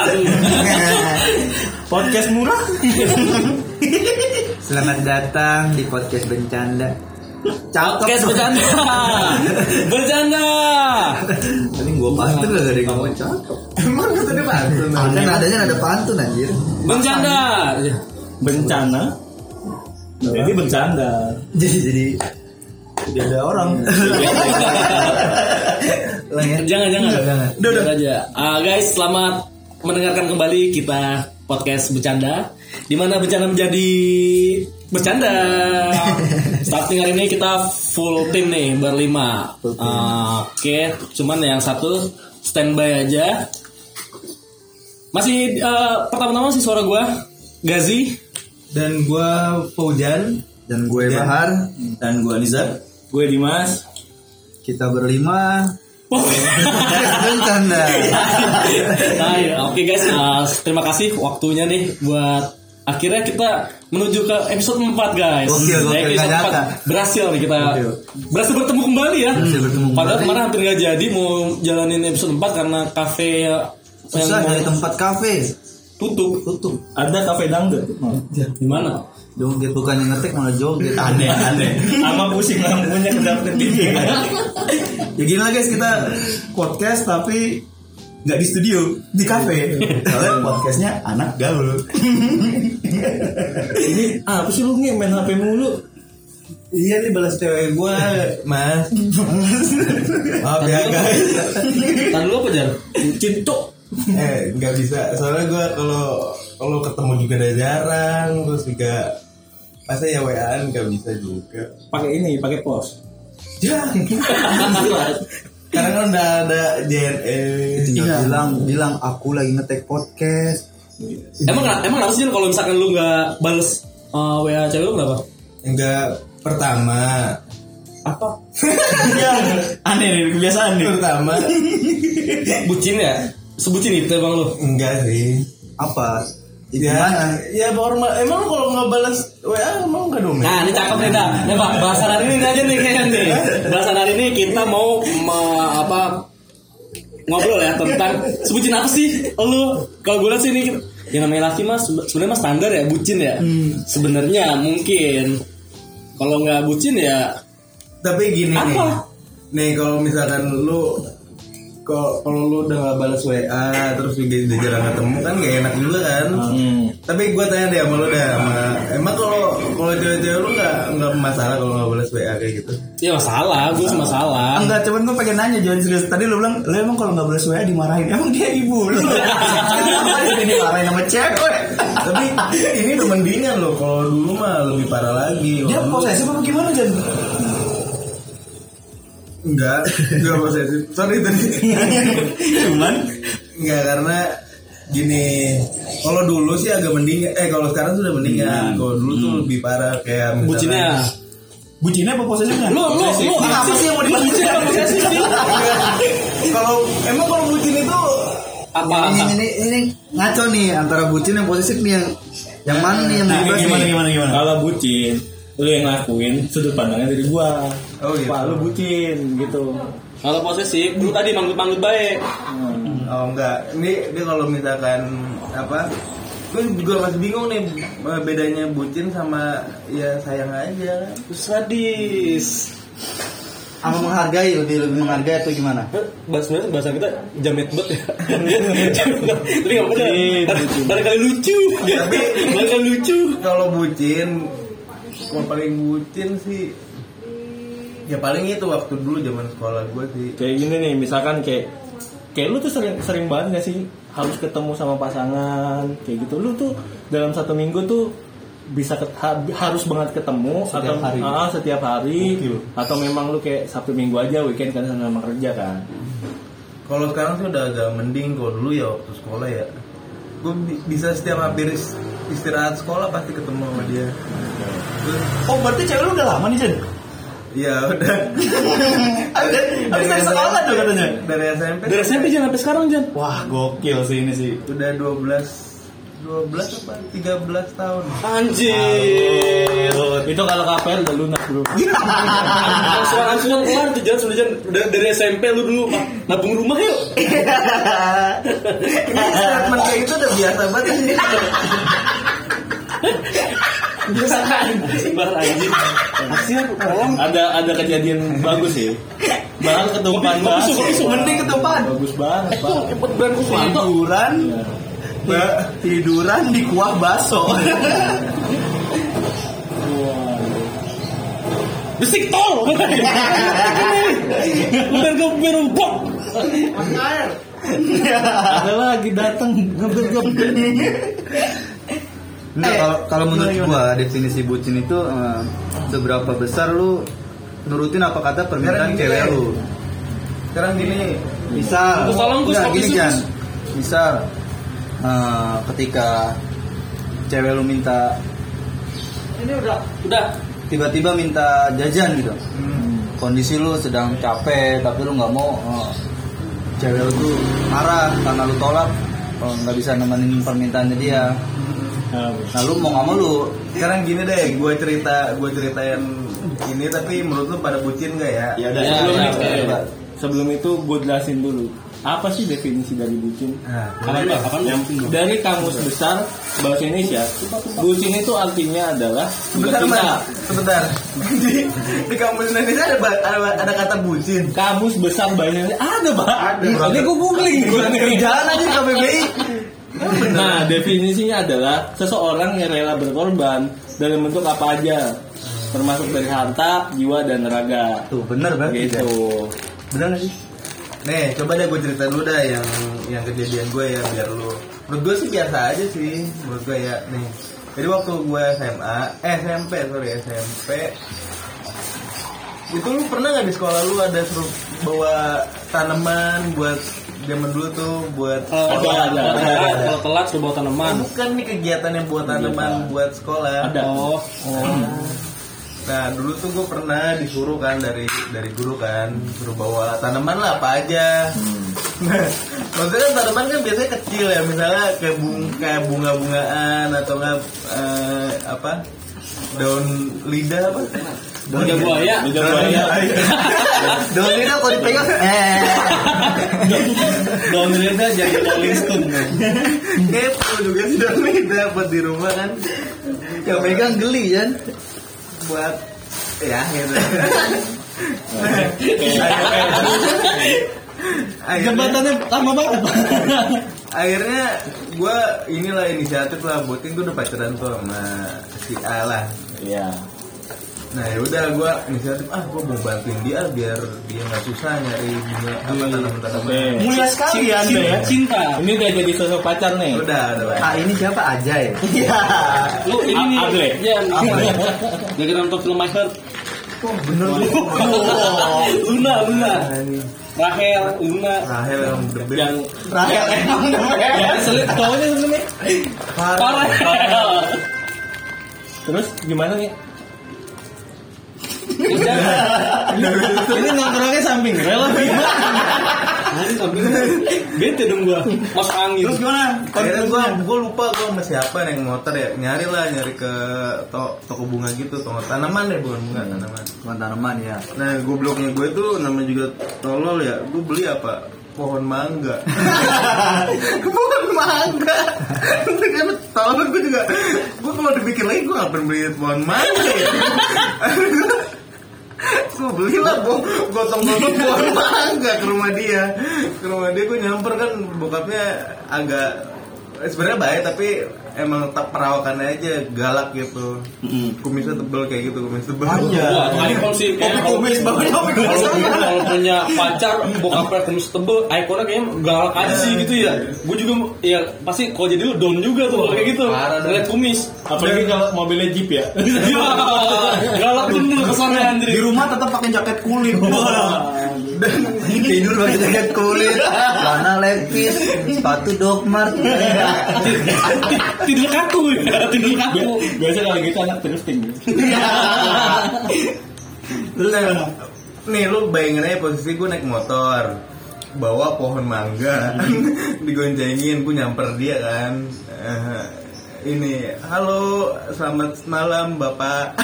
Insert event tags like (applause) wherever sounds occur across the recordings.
Iya. (laughs) Podcast murah. Selamat datang di podcast bencanda. Cakep. Podcast bercanda. Bercanda. Tadi gua pantun gak ada yang ngomong cakep. Emang lu tadi pantun. Kan adanya ada pantun anjir. Bencanda. Iya. Bencana. Jadi bercanda. Jadi jadi Tidak ada orang. ulang ya. Jangan jangan. jangan. Udah udah aja. Ah, guys, selamat mendengarkan kembali kita podcast bercanda di mana bercanda menjadi (laughs) bercanda. Starting hari ini kita full tim nih berlima. Full team. Ah, Oke, cuman yang satu standby aja. Masih eh, pertama-tama sih suara gua Gazi, Dan gua Faujan Dan gue Bahar, dan gua Nizar. gue Dimas. kita berlima podcast (laughs) bencanda. Nah, ya, oke guys, nah, terima kasih waktunya nih buat akhirnya kita menuju ke episode 4 guys. Gokil, Ya, gokil, episode nggak nyangka. 4 berhasil nih kita. Gokil. Berhasil bertemu kembali ya. Berhasil bertemu Padahal kembali. kemarin hampir nggak jadi mau jalanin episode 4 karena kafe yang Susah mau dari tempat kafe. tutup. Tutup. Ada kafe dangdut. Iya. Di mana? Joget bukan yang ngetik malah joget. Aneh aneh. Sama pusing lampunya kedap kedip. Ya gini lah guys kita Podcast tapi nggak di studio di kafe soalnya podcastnya anak gaul (laughs) ini apa sih lu nge main hp mulu iya nih balas cewek gua mas maaf ya guys Tadi lu apa Jar? Cinto. eh nggak bisa soalnya gue kalau kalau ketemu juga udah jarang terus juga masa ya waan nggak bisa juga pakai ini pakai pos ya karena kan udah ada JNE tinggal E. bilang bilang aku lagi ngetek podcast. emang emang harus Jar kalau misalkan lu nggak bales eh, WA cewek lu kenapa? enggak pertama apa aneh nih Kan kebiasaan nih (laughs) pertama Bucin ya? Sebucin itu emang lu. enggak sih Apa? Ya, ya gimana? ya normal emang kalau nggak balas WA emang nggak domain Nah, ini cakep nih, Dah. Ya, Pak, bahasan hari ini aja nih kayaknya nih. Bahasan hari ini kita mau me- apa ngobrol ya tentang sebutin apa sih lu kalau gue lihat sih ini yang namanya laki mas sebe- sebenarnya mas standar ya bucin ya sebenarnya mungkin kalau nggak bucin ya tapi gini nih Apa? nih kalau misalkan lu kalau kalau lu udah nggak balas WA terus juga udah jarang ketemu kan gak enak juga kan Hmm. tapi gue tanya deh sama lu deh sama, emang kalau kalau cewek-cewek lu nggak nggak masalah kalau nggak balas WA kayak gitu ya masalah gue cuma salah Enggak, cuman gue pengen nanya John serius. Tadi lu bilang, lu emang kalau nggak boleh WA dimarahin. Emang dia ibu lu. Ini dimarahin sama cewek. (laughs) tapi ini udah mendingan loh kalau dulu mah lebih parah lagi Dia Kalau dulu- posesif apa gimana John? Enggak, enggak posesif. Sorry (laughs) tadi. Iya, Cuman enggak karena gini, kalau dulu sih agak mendingan eh kalau sekarang sudah Hmm. mendingan. Kalau dulu tuh lebih parah kayak misalkan- bucinnya bucinnya apa posesifnya lu lu lu apa sih yang mau dibucin apa posesif sih? Kalau emang kalau bucin itu apa Ini, ini, ini ngaco nih antara bucin yang posesif nih yang yang mana nih yang Nah, bebas gimana nih? gimana gimana kalau bucin lu yang ngelakuin sudut pandangnya dari gua Oh, gitu. iya. Wah, lu bucin gitu kalau posesif lu tadi manggut-manggut baik oh enggak. Ini ini kalau misalkan apa? Gue juga masih bingung nih eh, bedanya bucin sama ya sayang aja. sadis Sama menghargai lebih lebih menghargai atau gimana? bahasa Eh, bahasa kita jamet banget (laughs) ya Jamet banget. tapi nggak benar barangkali lucu barangkali lucu Kalau bucin, kalau paling bucin sih ya paling itu waktu dulu zaman sekolah gue sih kayak gini nih misalkan kayak kayak lu tuh sering sering banget gak sih harus ketemu sama pasangan kayak gitu lu tuh dalam satu minggu tuh bisa ket- ha- harus banget ketemu atau hari. Ah, setiap hari atau memang lu kayak sabtu minggu aja weekend kan sama kerja kan Kalau sekarang sih udah agak mending kalau dulu ya waktu sekolah ya. Gue bisa setiap hampir is- istirahat sekolah pasti ketemu sama dia. Terus, Oh berarti cewek lu udah lama nih John? ya udah. Abis dari sekolah tuh katanya. Dari SMP dari SMP jangan sampai sekarang Jan wah gokil sih ini sih udah (laughs) Kan 12 12 apa 13 tahun. anjir itu kalau KPR udah lunas bro Ah, Angsuran angsuran keluar tuh jangan sudah jangan udah dari SMP lu dulu Pak. nabung rumah yuk. Statement kayak itu udah biasa banget sih. Sembar anjing. ada ada kejadian bagus sih bahkan ketumpan Bagus, bas bagus, Mending ketupat. bagus banget Itu Pak. cepet banget gua keluar. Tiduran. ba- Eh, tiduran di kuah (laughs) baso. Besik (laughs) tol. Bukan gue baru bok. ada lagi datang ngebel ngebel Nah, kalau kalau menurut gua definisi bucin itu eh, seberapa besar lu nurutin apa kata Sekarang permintaan gini, cewek Jan. lu. Sekarang gini, Misal, Gus, tolong, Gus, Nggak, stop gini isu, Jan. Gus. Misal eh, ketika cewek lu minta Udah. tiba-tiba minta jajan gitu. Hmm. Kondisi lu sedang capek tapi lu nggak mau eh, cewek lu tuh marah karena lu tolak eh, nggak bisa nemenin permintaannya dia. Hmm. Ah, Nah lu mau nggak mau lu sekarang gini deh, gue cerita gue ceritain ini tapi menurut lu pada bucin gak ya? ya udah Ya, sebelum ya, itu ya, ya. sebelum itu gue jelasin dulu apa sih definisi dari bucin Kapan Pak? Kapan Pak? dari kamus besar bahasa Indonesia bucin itu artinya adalah Sebentar, bucin. Mas. (laughs) Sebentar. Di, di kampus Indonesia ada, ba- ada, ada kata bucin. kamus besar bahasa Indonesia ada pak Ada, Ih, Pak. tadi gue googling nih, gua nih. Kerjaan aja di KBBI. Nah, definisinya adalah seseorang yang rela berkorban dalam bentuk apa aja, termasuk dari harta, jiwa, dan raga. tuh bener ya. banget. Jan. Gitu. Bener nggak sih? Nih, coba deh gue cerita dulu dah yang yang kejadian gue ya biar lu. Menurut gue sih biasa aja sih. Menurut gue ya nih. Jadi waktu gue SMA, eh SMP sorry SMP. Itu lu pernah nggak di sekolah lu ada suruh bawa tanaman buat zaman dulu tuh buat Kalau Eh, Ada, ada, telat, ada, ada. kalau telat sudah bawa tanaman. bukan nih kegiatan yang buat tanaman buat sekolah. Ada. Oh, Nah dulu tuh gue pernah disuruh kan dari dari guru kan suruh bawa tanaman lah apa aja. Nah, maksudnya kan tanaman kan biasanya kecil ya misalnya kayak bunga bunga bungaan atau nggak eh, apa daun lidah apa? udah buaya. Lidah buaya. daun lidah kalau dipegang eh Daun lidah jadi rolling stone. kan? kepo juga sih daun lidah buat di rumah kan. Ya pegang geli kan. buat ya gitu. Jabatannya lama banget. Pak. akhirnya gue inilah inisiatif lah buatin gue udah pacaran tuh sama si A lah Iya. nah ya udah gue inisiatif ah gue mau bantuin dia biar dia nggak susah nyari bunga apa Oke. tanaman-tanaman Mulia sekali Anda ya. Cinta. Ini udah jadi sosok pacar nih. Ya udah udah lah Ah ini siapa aja ya? Lu ini nih. Able. Jan. Lagi nonton film My Heart. bener tuh (laughs) Luna, Luna. Rahel, Luna. Rahel yang the best. Yang Rakyat emang yang selit cowoknya sebenarnya. Parah. Terus gimana nih? Ini Ini nongkrongnya samping rela Anjing, Iya. Nah, samping. Bete dong gua. Mas angin. Terus gimana? Akhirnya gue gue lupa gue sama siapa yang motor ya nyari lah nyari ke to- toko bunga gitu toko tanaman deh bukan bunga tanaman Bukan tanaman ya. nah gobloknya gue tuh namanya juga tolol ya gue beli apa pohon mangga (laughs) pohon mangga kan tolol gue juga gue kalau dipikir lagi gue ngapain beli pohon mangga ya gue belilah bo- gotong-gotong (laughs) pohon mangga ke rumah dia ke rumah dia gue nyamper kan bokapnya agak eh, sebenarnya baik tapi emang tak perawakan aja galak gitu kumisnya tebel kayak gitu kumis tebel Wah, ikon sih kayaknya kalau- Kumis banget kopi kalau punya, kalau punya pacar bokapnya kumis tebel ikonnya kayaknya galak aja sih gitu ya gue juga ya pasti kalau jadi lu down juga tuh kalau kayak gitu ngeliat kumis Apalagi kalau mobilnya Jeep ya. Wah, galak bener kesannya Andri Di rumah tetap pakai jaket kulit. Dan tidur pakai jaket kulit. (laughs) Celana lepis, sepatu dogmart. (laughs) tidur kaku ya tidur kaku Biasa kalau gitu anak drifting. Terus yang nih lu bayangin aja posisi gue naik motor (laughs) bawa pohon mangga digoncengin gue nyamper dia kan Eh, ini halo selamat malam bapak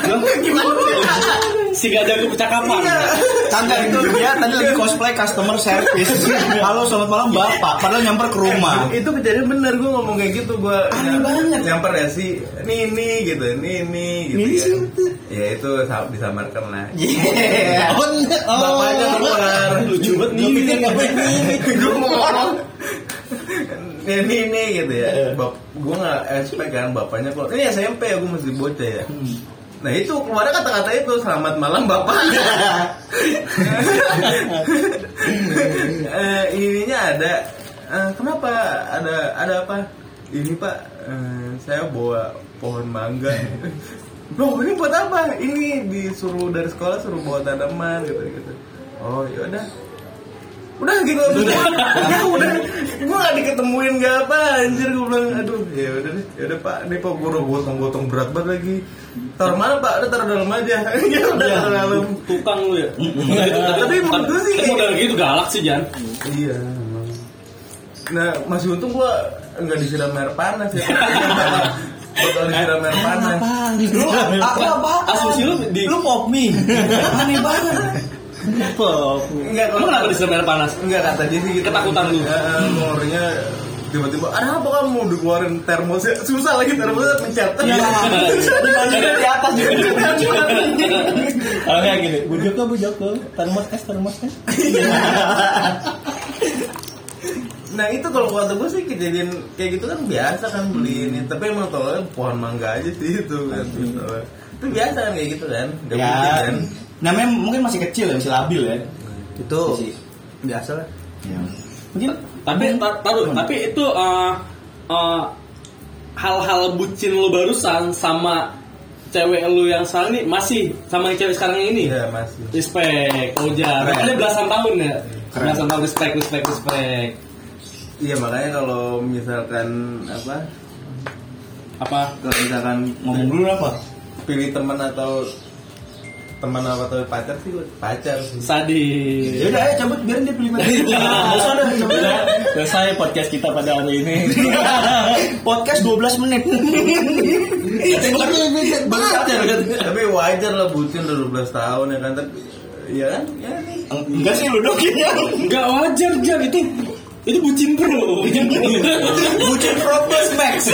Si gajah ke percakapan. Iya. Tanda itu dia tadi lagi cosplay customer service. Halo selamat malam Bapak, padahal nyamper ke rumah. (laughs) itu kejadian bener gue ngomong kayak gitu gue nyamper ya sih ini ini gitu ini ini gitu ya. ya itu sa- disamarkan lah Yeah. Oh, bapaknya keluar lucu banget nih. gue mau ngomong ini ini gitu ya bap gue nggak expect kan bapaknya keluar ini SMP ya gue masih bocah ya nah itu keluar kata-kata itu selamat malam bapak Eh, ininya ada eh, kenapa ada ada apa ini pak eh, saya bawa pohon mangga Loh ini buat apa? Ini disuruh dari sekolah suruh bawa tanaman gitu gitu. Oh yaudah udah gitu (laughs) aja udah ya udah gue gak diketemuin gak apa anjir gue bilang aduh ya udah deh ya udah pak ini pak gue udah gotong-gotong berat banget lagi taruh mana pak udah taruh dalam aja (laughs) ya udah Iya. taruh dalam Tukang lu ya. Tapi menurut gua sih- Tapi model gitu galak sih Jan. iya emang. nah masih untung gue nggak disiram air panas (laughs) ya bakal disiram air panas Lu aku apa? Asumsi lu di Lu pop me. Aneh banget. enggak Lu kenapa disiram air panas? Enggak kata dia sih gitu. Ketakutan lu. Heeh, ngornya tiba-tiba ada apa kamu dikeluarin termosnya ya." susah lagi termosnya pencet. Iya. (laughs) Dibandingin di atas juga. Kalau kayak gini, Bu Joko, Bu Joko, termos es, termos es. Nah itu kalau kata gue sih kejadian kayak gitu kan biasa kan beli ini tapi emang tolongnya pohon mangga aja sih itu kan Tolongnya. itu biasa kan kayak gitu kan nggak Ya. mungkin kan Namanya mungkin masih kecil ya, masih labil ya. itu biasa lah Ya. Mungkin tapi ta- taruh, tapi itu eh, eh, hal-hal bucin lu barusan sama cewek lu yang sekarang ini masih sama yang cewek sekarang yang ini. iya masih Respect, Oja. Berarti Ada belasan tahun ya. Belasan tahun respect, respect, respect. iya makanya kalau misalkan apa Apa? kalau misalkan Ngomong dulu apa? pilih teman atau teman apa atau pacar sih gua pacar sih Sadis. Ya udah ayo coba biarin dia pilih mana. (laughs) Iya. Iya. Gak usah dah, coba dah. Sudah selesai ya podcast kita pada hari (laughs) ini. Podcast 12 menit. Baru sadar kan? tapi wajar lah bucin udah 12 tahun ya kan tapi ya kan ya nih Enggak sih lu dong ya. Enggak wajar Jan itu itu bucin pro. itu Bucin Propos (laughs) Max.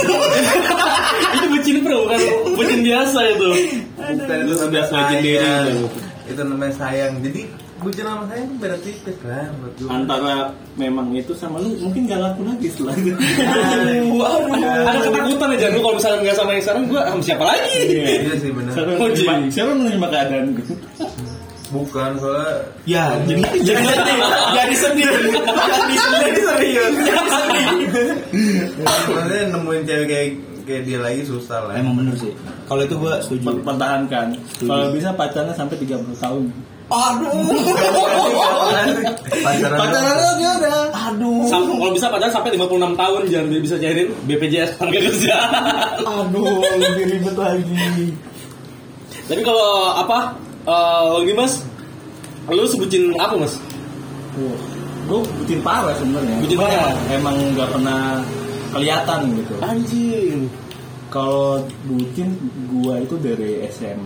bucin pro bukan bucin biasa itu. bukan itu namanya sayang itu namanya sayang jadi bucin sama sayang itu beda tipis kan menurut gue Antara memang itu sama lu mungkin gak laku lagi setelah itu. Waduh, ada ketakutan ya Jan lu kalau misalnya enggak sama yang sekarang gua sama siapa lagi? iya sih bener Siapa yang menerima- siapa yang menerima keadaan gitu? gue? bukan soalnya Ya, jadi jadi sedih. Jadi sedih. Jadi sedih. serius maksudnya nemuin cewek kayak kayak dia lagi susah lah (laughs) Emang bener sih. Kalau itu gua setuju. Pertahankan. Kalau bisa pacarnya sampai 30 tahun. Aduh. pacaran Pacaran doang. aja udah. Aduh. Sam- kalau bisa pacaran sampai 56 tahun Jan biar bisa cairin BPJS harga (laughs) kerja. Aduh, lebih ribet lagi. Tapi kalau apa? Eh, Bang Dimas, lu sebutin apa mas? Wah, gue bucin parah sebenarnya. Bucin Gua parah. Emang nggak pernah kelihatan gitu. Anjing. Kalau bucin gua itu dari SM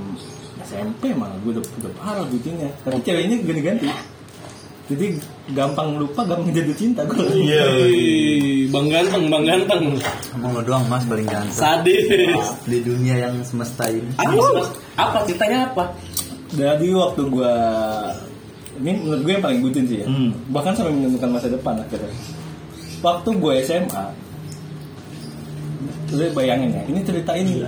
SMP malah gue udah, udah parah bucinnya. Tapi ceweknya ganti-ganti. Jadi gampang lupa, gampang jatuh cinta gue. Wih, Bang ganteng, bang ganteng. Emang lo doang mas paling ganteng Sadis. di dunia yang semesta ini. Apa, Mas? apa ceritanya apa? Jadi waktu gua ini menurut gue yang paling bucin sih ya. Hmm. Bahkan sampai menentukan masa depan akhirnya. Waktu gue SMA, lu bayangin ya, ini cerita ini.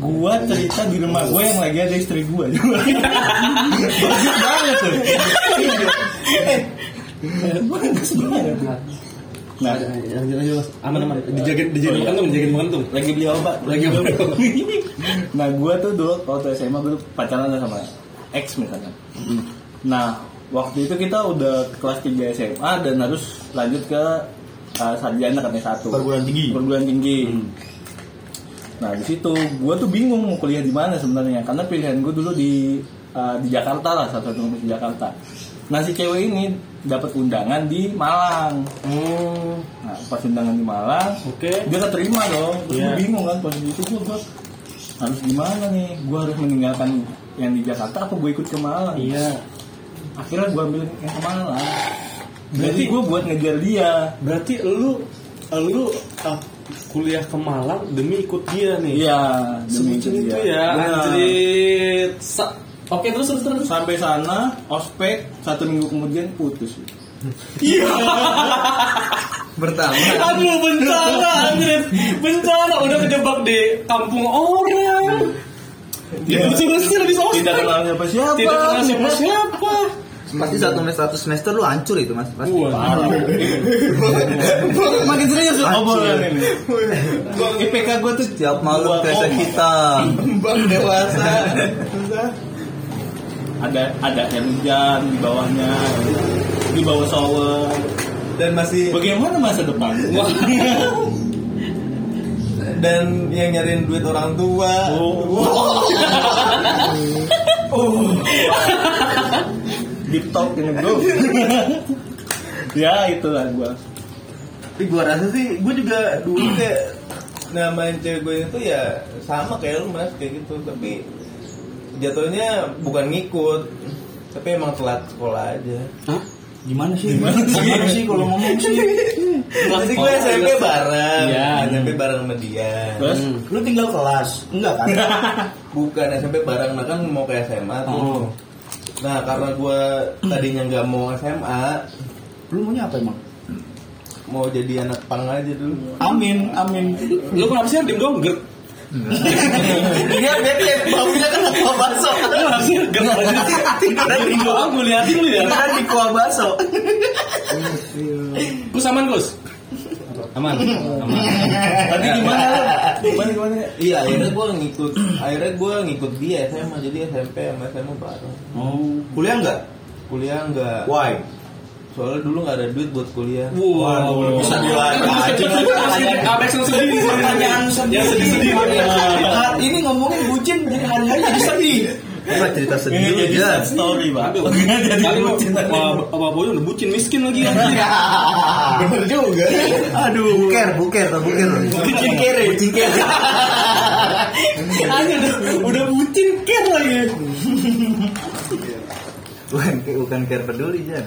Gua cerita di rumah gue yang lagi ada istri gue. (laughs) Bagus banget tuh. Eh, Bagus banget. Nah, aman aman dijagain Oh, iya. dijagain mengentung dijagain mengentung lagi beli obat lagi (laughs) nah gue tuh dulu waktu SMA gue pacaran sama ex misalnya Hmm. nah waktu itu kita udah kelas 3 SMA dan harus lanjut ke uh, sarjana katanya satu Perguruan tinggi. Hmm. perguruan tinggi nah di situ gue tuh bingung mau eh, kuliah di mana sebenarnya karena pilihan gue dulu di uh, di Jakarta lah satu satu di Jakarta Nah si cewek ini dapat undangan di Malang. Hmm. Nah, pas undangan di Malang, Oke. dia keterima dong. Terus Iya. gua bingung kan posisi itu gue harus gimana nih? Gue harus meninggalkan yang di Jakarta apa gue ikut ke Malang? Iya. Akhirnya gue ambil yang ke Malang. Berarti gue buat ngejar dia. Berarti lu lu ah, kuliah ke Malang demi ikut dia nih. Iya, demi Sebutin itu ya. dia. Benar. Anjir. Sa- Oke terus terus terus. Sampai sana, ospek satu minggu kemudian putus. Iya. Pertama Aduh bencana anjir. Bencana udah kejebak di kampung orang. Ya, terus terus habis ospek. Iya. Tidak kenal siapa siapa. Tidak kenal siapa-siapa. Pasti satu semester satu semester lu hancur itu mas. Pasti. Makin serius loh Hancur. obrolan ini. IPK gue tuh Tiap malam Dua kayak koma. kita. Bang dewasa ada ada yang hujan di bawahnya, di bawah shower. Dan masih Bagaimana masa depan? Wah, Dan yang nyariin duit orang tua Oh. deep talk ini bro. ya itulah gue. Tapi gue rasa sih Gue juga dulu kayak Namain cewek gue itu ya Sama kayak lu mas Kayak gitu Tapi Jatuhnya bukan ngikut Tapi emang telat sekolah aja Hah? Gimana sih? Gimana Gimana sih kalau ngomong sih? Pasti gue Oh, SMP bareng Iya. SMP bareng sama dia Terus Lu tinggal kelas, enggak kan? Bukan SMP bareng Nah kan mau ke SMA tuh Oh. Nah karena gue tadinya nggak mau SMA Lu maunya apa emang? Mau jadi anak pang aja dulu Amin, amin. Lu kenapa sih diem dong? Ger. Dia dia dia baunya kan kuah bakso. Lu kenapa sih ger? Iya. Tiduran di Gua gue liatin lu ya. tiduran di kuah bakso. Iya, Gus aman Gus. Aman. Aman. tadi gimana? Iya. lu? Gimana gimana? Iya akhirnya gue ngikut Akhirnya gue ngikut dia SMA Jadi SMP sama SMA bareng Oh. Kuliah enggak? Kuliah nggak Why? Soalnya dulu nggak ada duit buat kuliah Wow. bisa dilayan aja. Abex yang sedih. Pertanyaan Yang sedih. Ya, sedih-sedih. Iya. Nah, Ini ngomongin bucin jadi hari-hari jadi sedih. Gua cerita Ini sedih dulu jadi ya sad story pak. Aduh, Jadi kali mau bucin tadi. bapak bodoh udah bucin miskin lagi anjir. Iya. Bener juga. Aduh. Buker, buker, tau buker Bucin kere, bucin kere. Anjir, udah bucin ker lagi. Bukan bukan care peduli (laughs) Jan.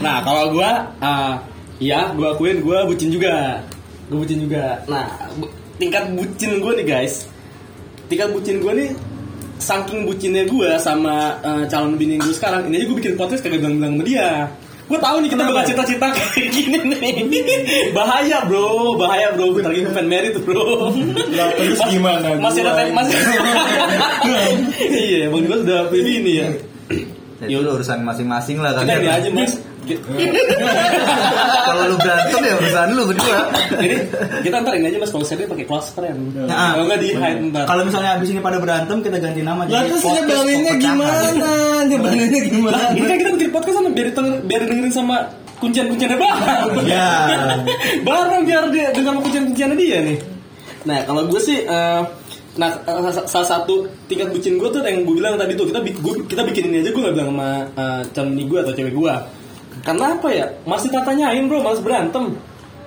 Nah, kalau gua ah, iya, gua akuin gua bucin juga. Gua bucin juga. Nah, bu- tingkat bucin gua nih, guys. Tingkat bucin gua nih saking bucinnya gua sama eh, calon bini gua sekarang, ini aja gua bikin podcast kagak bilang-bilang sama dia. Gua tahu nih kita bakal cita-cita kayak gini nih. Bahaya, Bro. Bahaya, Bro. Bentar lagi gua pengen married, Bro. Lah, terus Mas- gimana? Masih ada Gua tem- (laughs) masih. Iya, Bang Dimas udah pilih ini Iya. ya. Ya itu urusan masing-masing lah kan. Kita ini aja, Mas. Kalau lu berantem ya urusan lu berdua. Jadi kita ntar ini aja mas kalau serius pakai close friend. Nah, kalau nggak di hide ntar. Kalau misalnya abis ini pada berantem kita ganti nama. Lah jadi terus podcast nyebelinnya perpecahan. gimana? Nyebelinnya gimana? Nah, ini kan kita bikin podcast sama biar denger, biar dengerin sama kuncian kunciannya bareng. Ya. (laughs) bareng biar dia dengar sama kuncian kunciannya dia nih. Nah kalau gue sih, eh, nah eh, sa- salah satu tingkat bucin gue tuh yang gue bilang tadi tuh kita bi- gua- kita bikin ini aja gue nggak bilang sama eh, calon ini gue atau cewek gue. Karena apa ya? Masih tak tanyain bro, mas berantem.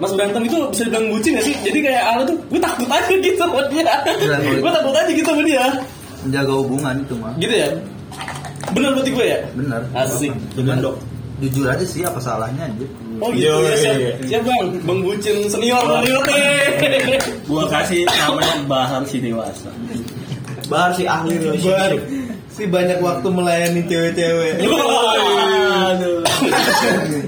Mas berantem itu bisa dibilang bucin gak sih? Jadi kayak ala tuh gue takut aja gitu sama dia. Berantem. gue takut aja gitu sama dia. Menjaga hubungan itu mah. Gitu ya? Bener berarti gue ya? Bener. Asik. Cuman jujur aja sih apa salahnya anjir. Oh Iya, gitu ya, siap, Iya, siap bang, bang Iya. bucin senior dari nih. Gua kasih namanya Bahar si dewasa. iya. Bahar si ahli lu. Gue sih banyak waktu melayani cewek-cewek Aduh.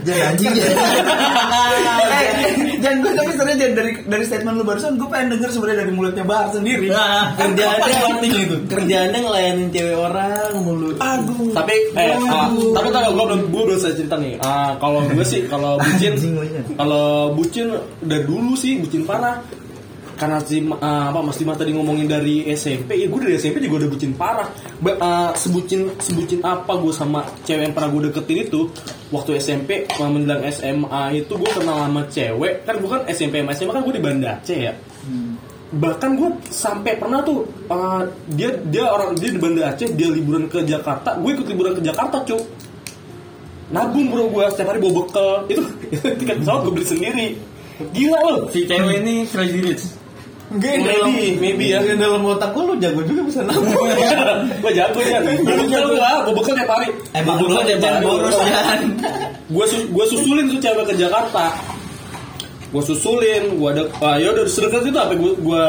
Jangan anjing ya. Eh, (laughs) Jangan gue tapi sebenarnya Jan, dari dari statement lu barusan gue pengen denger sebenarnya dari mulutnya Bahar sendiri. Kerjaannya gitu. Kerjaannya ngelayanin cewek orang mulu Aduh. Tapi eh, ah, tapi kalau gue belum gue belum saya cerita nih. Ah, kalau gue sih kalau bucin, Anjing lu ya. kalau bucin udah dulu sih bucin parah. Karena si ah, apa Mas Dimas tadi ngomongin dari SMP, ya gue dari SMP juga udah bucin parah. Ba- ah, sebucin sebucin apa gue sama cewek yang pernah gue deketin itu waktu SMP ah, menjelang SMA itu gue kenal sama cewek kan gue kan SMP sama SMA kan gue di Banda Aceh ya bahkan gue sampai pernah tuh uh, dia dia orang dia di Banda Aceh dia liburan ke Jakarta gue ikut liburan ke Jakarta cuk nabung bro gue setiap hari bawa bekal (laughs) itu tiket pesawat gue beli sendiri gila lo Si cewek ini crazy rich. Enggak, yang dalam, maybe maybe (laughs) ya yang dalam otak gue lu jago juga bisa nabung. gue jago ya bawa bekal gue bawa bekal tiap hari Bawa Emang lu bekal tiap jangan hari, (laughs) boros, bawa bekal. jangan. gue gue susulin tuh cewek ke Jakarta gue susulin gue ada ah, ya udah sedekat itu apa gue gue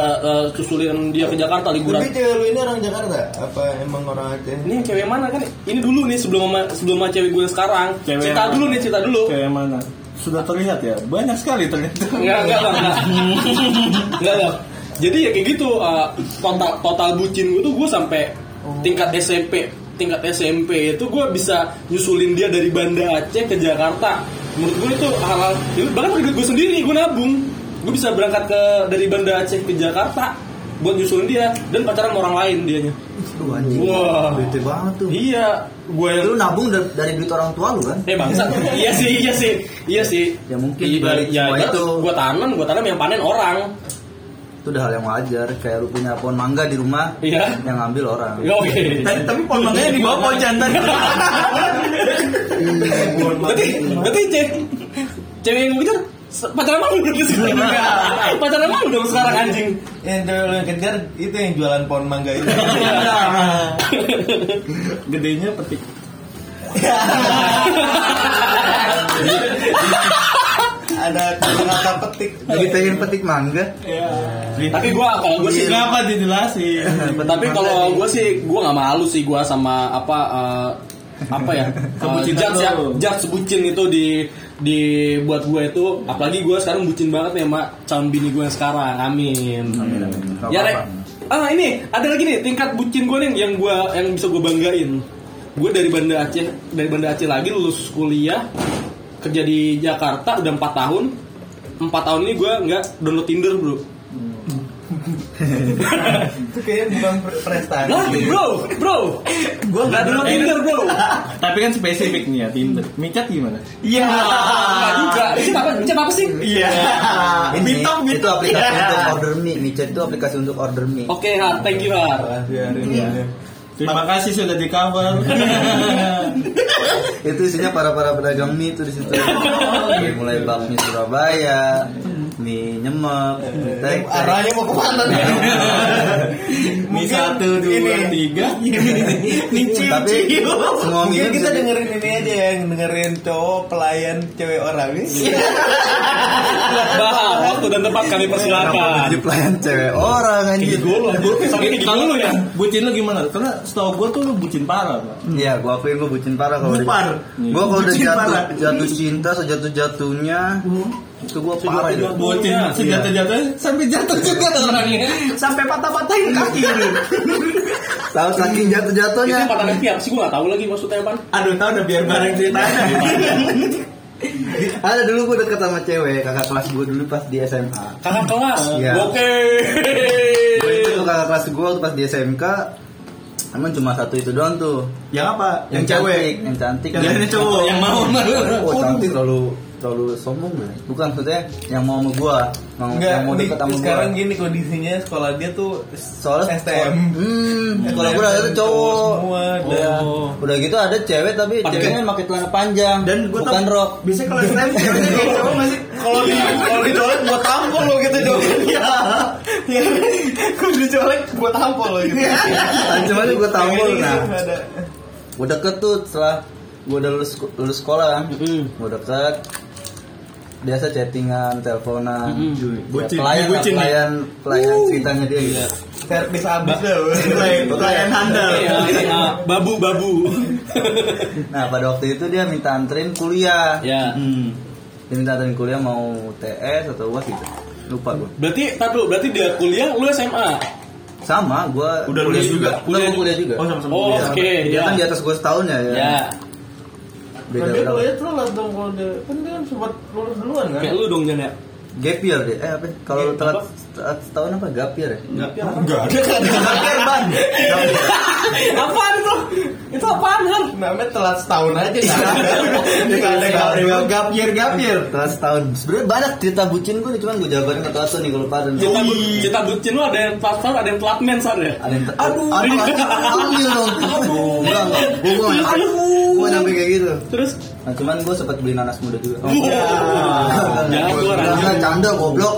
susulin dia ke Jakarta liburan Tapi cewek lu ini orang Jakarta? Apa emang orang Aceh? ini cewek mana kan ini dulu nih sebelum sama, sebelum sama cewek gue sekarang Cewek cerita yang- dulu nih cerita dulu Cewek yang mana? Sudah terlihat ya, banyak sekali ternyata. enggak enggak enggak (laughs) enggak enggak enggak. jadi ya kayak gitu eh, total total bucin gue tuh gue sampai tingkat SMP tingkat SMP itu gue bisa nyusulin dia dari Banda Aceh ke Jakarta menurut gue itu hal-hal ya, bahkan dari gue sendiri gue nabung gue bisa berangkat ke dari Banda Aceh ke Jakarta buat nyusulin dia dan pacaran sama orang lain dianya Aduh, anjing. Wah. Bete banget tuh. iya gue yang Lu nabung dari, dari duit orang tua lu kan? Eh (laughs) bangsa, iya sih, iya sih, iya sih. Ya, mungkin Iya, dibalik ya, semua itu. itu. Gua tanam, gua tanam yang panen orang. Itu udah hal yang wajar. Kayak lu punya pohon mangga di rumah, Iya. yang ngambil orang. Ya, Oke. Iya. Iya, Tapi, tapi pohon mangganya di bawah pohon jantan. Iya, Berarti, berarti cewek, cewek yang begitu se- pacaran malu dong (laughs) sekarang. Pacaran malu dong sekarang anjing. Yang cewek lu yang kejar itu yang jualan pohon mangga itu. Gedenya petik. (laughs) Ada kata petik. Jadi pengen petik mangga. Iya. Tapi gua kalau gua sih Kenapa dijelasin? Iya, Nah, tapi Iya. kalau gua sih gua nggak malu sih gua sama apa eh, apa ya uh, Kebucinan judge ya lo. judge bucin itu di di buat gua itu apalagi gua sekarang bucin banget ya mak calon bini gua yang sekarang amin, Gak ya apa-apa. rek ah ini ada lagi nih tingkat bucin gua nih yang gua yang bisa gua banggain gua dari Banda Aceh dari Banda Aceh lagi lulus kuliah kerja di Jakarta udah empat tahun empat tahun ini gua nggak download Tinder bro Itu kayaknya bukan pre- prestasi. Lah, bro, bro, gua nggak download Tinder bro. Tapi kan spesifik nih ya Tinder. Micat gimana? Iya. Enggak juga. Micet apa? Micet apa sih? Iya. Ini, Bitok itu bitok. aplikasi untuk order mie. Micet itu aplikasi untuk order mie. Oke, Har, thank you Har. Prestasi hari Iya. ini. Terima kasih sudah di cover. Itu isinya para para pedagang mie itu di situ. Dari mulai bab mie Surabaya, mie nyemek, mie tek, Arahnya mau kemana nih? Ini satu dua tiga. Iya. Tapi semua Mungkin mie itu kita bisa di- dengerin ini aja ya, yang dengerin cowok pelayan cewek orang Iya. ini. Iya. Bahar, waktu dan tempat kami Kenapa persilakan. jadi pelayan cewek orang anjir. Gue loh, gue sampai kayak gitu dulu ya. Bucin lu gimana? Karena setahu gua tuh lu bucin parah, Pak. Iya, gua akuin gua bucin parah kalau udah. Gua kalau udah Bucin jatuh parah. jatuh cinta sejatuh jatuhnya itu gua parah ya. ya. itu. Bucin Iya. sejatuh-jatuh sampai jatuh juga tuh orangnya. Sampai patah-patahin kaki ini. Tahu saking jatuh Itu jatuhnya. patah kaki apa sih? Gue gak tau lagi maksudnya apa. Aduh, tahu udah biar bareng ceritanya. Ada Ah, dulu gua deket sama cewek kakak kelas gua dulu pas di SMA. Kakak kelas. Iya. Oke. Gua itu tuh kakak kelas gua waktu pas di SMK Emang cuma satu itu doang tuh Yang apa? Yang, cewek Yang cantik Yang ini cowok. Yang mau mah lu. Oh, cantik terlalu terlalu sombong ya? Bukan maksudnya yang mau sama gua, mau Enggak, yang mau nih, deket sama sekarang gua. gini kondisinya sekolah dia tuh Soalnya STM. Hmm, kalau gua itu cowok. Semua ada. Udah gitu ada cewek tapi ceweknya pakai celana panjang bukan (coughs) rok. Biasanya kalau STM ceweknya kayak cowok masih kalau di kalau dicolek gua tampol lo gitu dong. Iya. Iya. Kalau dicolek gua tampol lo gitu. Anjir aja gua tampol Ini nah. ada. Gua deket tuh setelah gua udah lulus lulus sekolah kan. Gua deket biasa chattingan, teleponan, Ya, Bucin. pelayan, lah, Bucin, ya? pelayan, pelayan ceritanya dia gitu. Servis habis gitu. dah. Pelayan handal. Iya, iya. Babu, babu. Nah pada waktu itu dia minta anterin kuliah. Ya. Hmm. Dia minta anterin kuliah mau TS atau UAS gitu. Lupa gue. Berarti, tar dulu, berarti dia kuliah, lu SMA. Sama gue. Udah lulus juga? Kuliah, gua kuliah juga. sama-sama. Oh, Iya. oke. Dia Ya. kan di atas gue setahun ya. ya. Ya. Beda Dia berapa? kuliah telat dong kalau dia kan dia kan sempat lulus duluan kan. Kayak lu dong, Jan ya. Gap year deh. Eh apa? Kalau Gap telat apa? telat setahun apa gap year ya? Enggak ada kan. Gap year ban. Gap year. Apaan itu? Itu apaan, Han? Namanya telat setahun aja. (laughs) Enggak ada enggak ada. Gap year gap year. Telat setahun. Sebenarnya banyak cerita bucin gue cuman gue jabarin ke Tato nih kalau pada. Cerita bu- cerita bucin lu ada yang platform, ada yang telat men, San, ya? ada yang aduh aduh aduh ambil dong aduh enggak enggak gue gue nyampe gue nyampe kayak gitu Terus Nah, cuman gue sempat beli nanas muda juga. Oh, Wah. Iya. Ya. Jangan keluar Jangan canda goblok.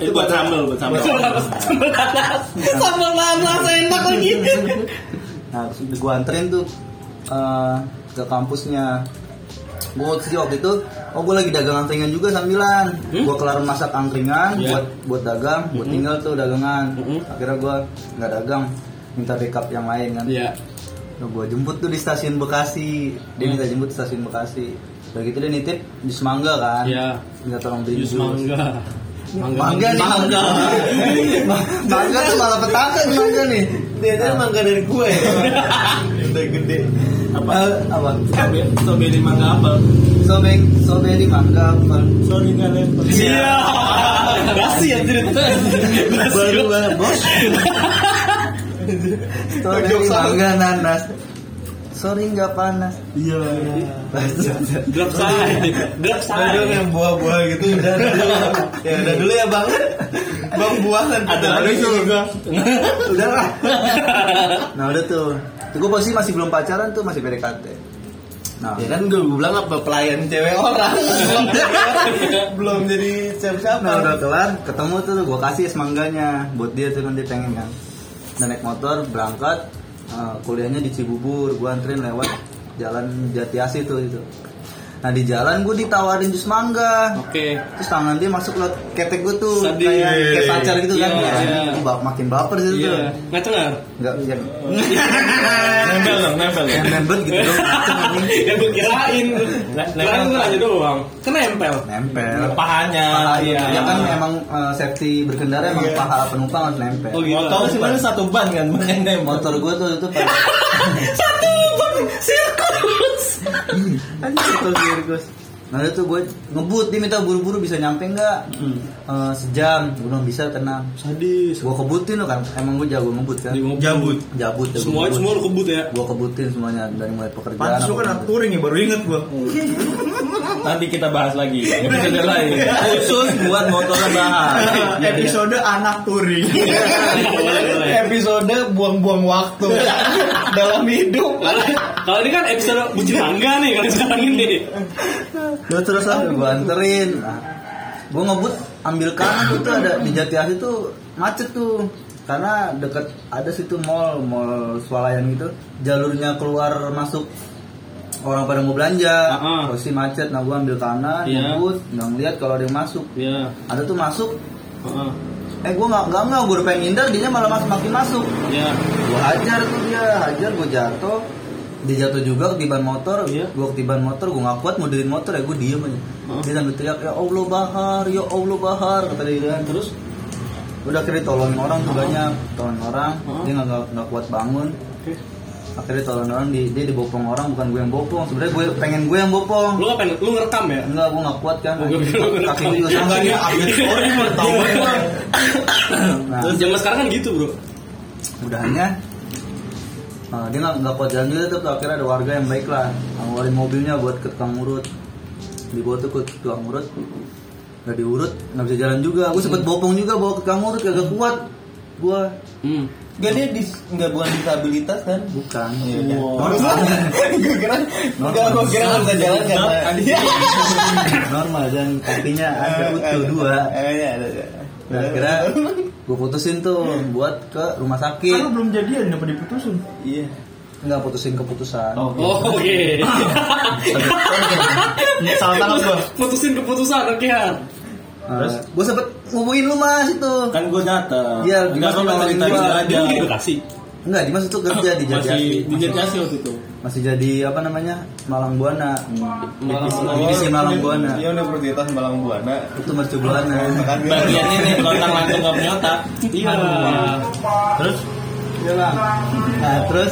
Itu buat sambal, buat sambal. Sambal nanas. Sambal nanas enak lagi. Nah, gue anterin tuh eh, ke kampusnya. Gue sih waktu itu, oh gue lagi dagang angkringan juga sambilan. Gue kelar masak angkringan Hmm? Iya. Hmm. buat buat dagang, buat tinggal tuh dagangan. Mhm. Akhirnya gue nggak dagang, minta backup yang lain kan. Iya. Nah, gue jemput tuh di stasiun Bekasi. Dia minta jemput di stasiun Bekasi. Udah gitu dia nitip jus mangga kan. Iya. Minta tolong beli Jus mangga. Mangga nih mangga. mangga tuh malah petaka nih mangga nih. Dia aja mangga dari (laughs) gue ya. Udah gede. Apa? Eh, apa? Strawberry mangga apel. Sobek, sobek di mangga. apel. Sorry nggak lempar. Iya. Basi ya cerita. Baru banget bos. Sobek di mangga nanas. Sorry nggak panas. Iya. Gelap say. Gelap Udah say. dong yang buah-buah gitu udah dulu. Ya udah dulu ya bang. Bang buahan. Ada lagi juga. Udah lah. (laughs) nah udah tuh. Tuh gue posisi masih belum pacaran tuh masih PDKT. Nah, Ya kan gue bilang apa pelayan cewek (laughs) orang. Belum jadi siapa-siapa. Nah udah kelar, ketemu tuh gue kasih es mangganya buat dia tuh kan dia pengen kan. Dan naik motor berangkat eh, kuliahnya di Cibubur, gue anterin lewat jalan Jati Asih tuh itu. Nah di jalan gue ditawarin jus mangga. Oke. Terus tangan dia masuk lewat ketek gue tuh Sedih. kayak kayak pacar gitu kan. Iya, Anjing, iya. gua bak- makin baper sih ya, tuh. Iya. Ngaceng nggak? Enggak yang Nempel dong, nempel. yang nembet gitu dong. ngaceng, anjing. (laughs) Ya gue kirain. Kirain lu aja doang. Kenempel. Nempel. Pahanya. Paha, iya. ya kan emang eh, safety berkendara emang paha penumpang harus nempel. Oh, gitu. Motor sebenarnya satu ban kan, ban yang nempel. motor gue tuh itu pada Satu pun sirkus. Anjir, Virgus. Nah itu gue ngebut dia minta buru-buru bisa nyampe nggak Eh, sejam gue bilang bisa tenang Hmm. Sadis. gue kebutin loh kan emang gue jago ngebut kan Jabut. jabut jago Semua semua lu kebut (laughs) ya. gue kebutin semuanya dari mulai pekerjaan Pantes lu apa kan gitu. aturin ya baru inget gue. Nanti kita bahas lagi. Episode lain. khusus buat motor (laughs) bahas episode anak touring Iya. Boleh, boleh. episode buang-buang (laughs) waktu dalam hidup Kalau ini kan episode bucin tangga nih kalau sekarang ini. Terus terus lah gue anterin nah, gue ngebut ambil kanan itu ada di Jatiasi tuh macet tuh karena deket ada situ mall mall swalayan gitu jalurnya keluar masuk orang pada mau belanja Ah, ah. posisi macet nah gue ambil kanan Iya. ngebut nggak ngeliat kalau ada yang masuk Iya. ada tuh masuk Heeh. eh gue nggak nggak nggak gue pengen ngindar dia malah masuk makin masuk Iya. gue hajar tuh dia hajar gue jatuh dia jatuh juga ketiban motor Iya. gue ketiban motor gue nggak kuat modelin motor ya gue diem aja Hah? dia sambil teriak ya allah bahar ya allah bahar kata dia kan. Terus udah akhirnya tolongin orang tuh banyak tolongin orang Hah? dia nggak nggak- nggak kuat bangun akhirnya tolongin orang di- dia dibopong orang bukan gue yang bopong sebenarnya gue pengen gue yang bopong lu ngapain? Lu ngerekam ya? enggak gue nggak kuat kan Oh, gue pikir lu ngerekam. kaki gue juga sakit Enggak, update story, mau tahu emang. Nah. Iya. Terus zaman sekarang kan gitu, Bro. mudahannya uh, dia nggak nggak kuat jalan juga tuh akhirnya ada warga yang baik lah ngeluarin mobilnya buat ke tukang urut dibawa tuh ke tukang urut nggak diurut nggak bisa jalan juga gue sempet Hmm. bopong juga bawa ke tukang urut kagak kuat gue Hmm. gak dia dis, gak bukan disabilitas kan bukan Iya. Wow. normal gue kira Normal. gak gue kira nggak bisa jalan ya, karena (laughs) normal dan kakinya ada utuh dua iya. eh ya ada ada. nah, akhirnya (laughs) gue putusin tuh Hmm. buat ke rumah Kan lu sakit belum jadian dapat diputusin. iya nggak putusin keputusan Oh, oke. Salah tangkap gua. Putusin keputusan, oke. ya. Han. terus gue Nah, sempet ngubungin lu mas itu Kan gua nyata. Iya, enggak gua lu nolongin cerita gua. dia aja. Dia lagi di Bekasi. Enggak, Dimas itu kerja di Jatiasi. Masih di Jatiasi waktu itu. Masih jadi apa namanya? Malang Buana. Malang Di divisi Malang Buana. iya universitas Malang Buana Itu mercu Buana. Kan dia- Bagian ini lontang lantung gak punya otak. Iya. Terus Nah, terus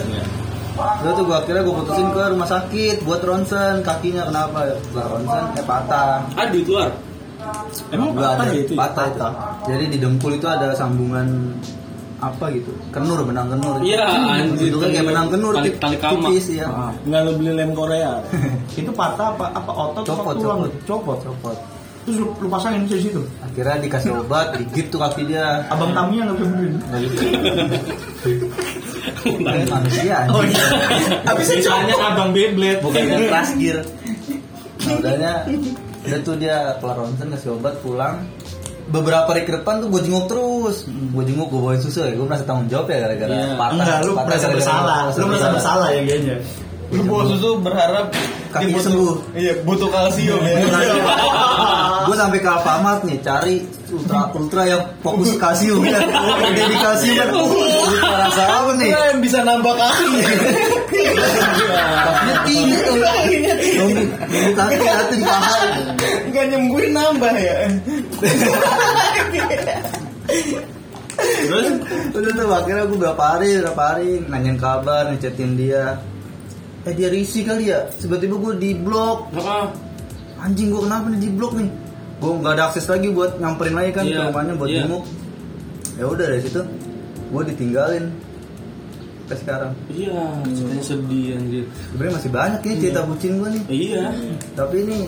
Lalu tuh gua akhirnya gua putusin ke rumah sakit buat ronsen kakinya kenapa setelah ronsen eh patah Ah, duit luar. emang Gua patah ada ya itu? patah, itu. jadi di dengkul itu ada sambungan apa gitu kenur benang kenur Iya, anjir. itu kan kayak benang kenur Tali- tip- tali kama. tipis ya Enggak lu beli lem Korea. itu patah apa apa otot apa Copot, tulang copot. copot copot terus lu, lu pasangin di situ akhirnya Iya. dikasih obat digigit tuh kaki dia abang tamunya nggak bisa benerin manusia anjing. Abisnya Misalnya abang Beyblade bukannya kelas gear nah, udahnya udah tuh dia kelar ronsen ngasih obat pulang beberapa hari ke depan tuh gue jenguk terus gue jenguk gue bawain susu ya gue merasa tanggung jawab ya gara-gara Iya. patah Enggak, lu patah merasa gara-gara bersalah. merasa Lu merasa bersalah ya kayaknya. Lu bawa susu berharap Kaki dia butuh- sembuh. Iya, butuh kalsium ya. gue sampai ke Alfamart nih cari ultra ultra yang fokus ke (laughs) kalsium ya Yang di kalsium kan ultra rasa apa nih Nah, yang bisa nambah kaki. kakinya tinggi tuh Nunggu- nunggu kaki liatin paha Enggak nyembuhin nambah ya. udah tuh akhirnya gue berapa hari berapa hari nanyain kabar ngechatin dia eh dia risih kali ya tiba-tiba gue di blok Ah, anjing gue kenapa nih di blok nih gue nggak ada akses lagi buat nyamperin lagi kan ke Iya, rumahnya buat iya. jenguk ya udah dari situ gue ditinggalin sampai sekarang Iya, ceritanya sedih anjir. sebenarnya masih banyak nih cerita bucin gue nih Iya. tapi ini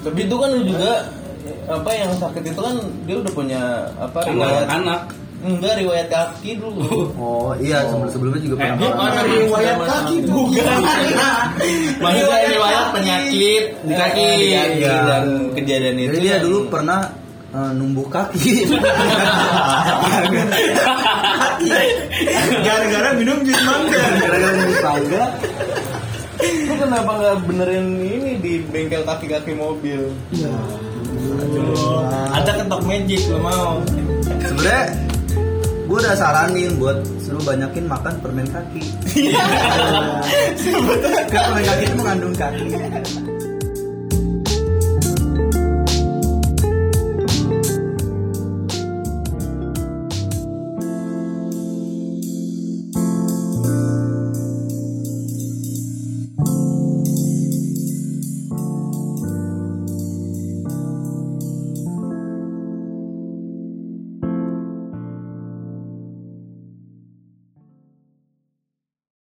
Tapi itu kan lu juga apa yang sakit itu kan dia udah punya apa Kan riwayat anak. enggak riwayat kaki dulu oh iya sebelum sebelumnya juga pernah mana riwayat kaki bukan Maksudnya riwayat penyakit di kaki. Ya, Iya. dan kejadian itu jadi dia kan. yang- dulu pernah eh, numbuh kaki Gara-gara minum jus mangga. gara-gara numbuh tangga Lu kenapa nggak benerin ini di bengkel kaki-kaki mobil? Ada ketok magic lu mau. sebenarnya gue udah saranin buat suruh banyakin makan (laughs) permen kaki. Karena permen kaki itu mengandung kaki.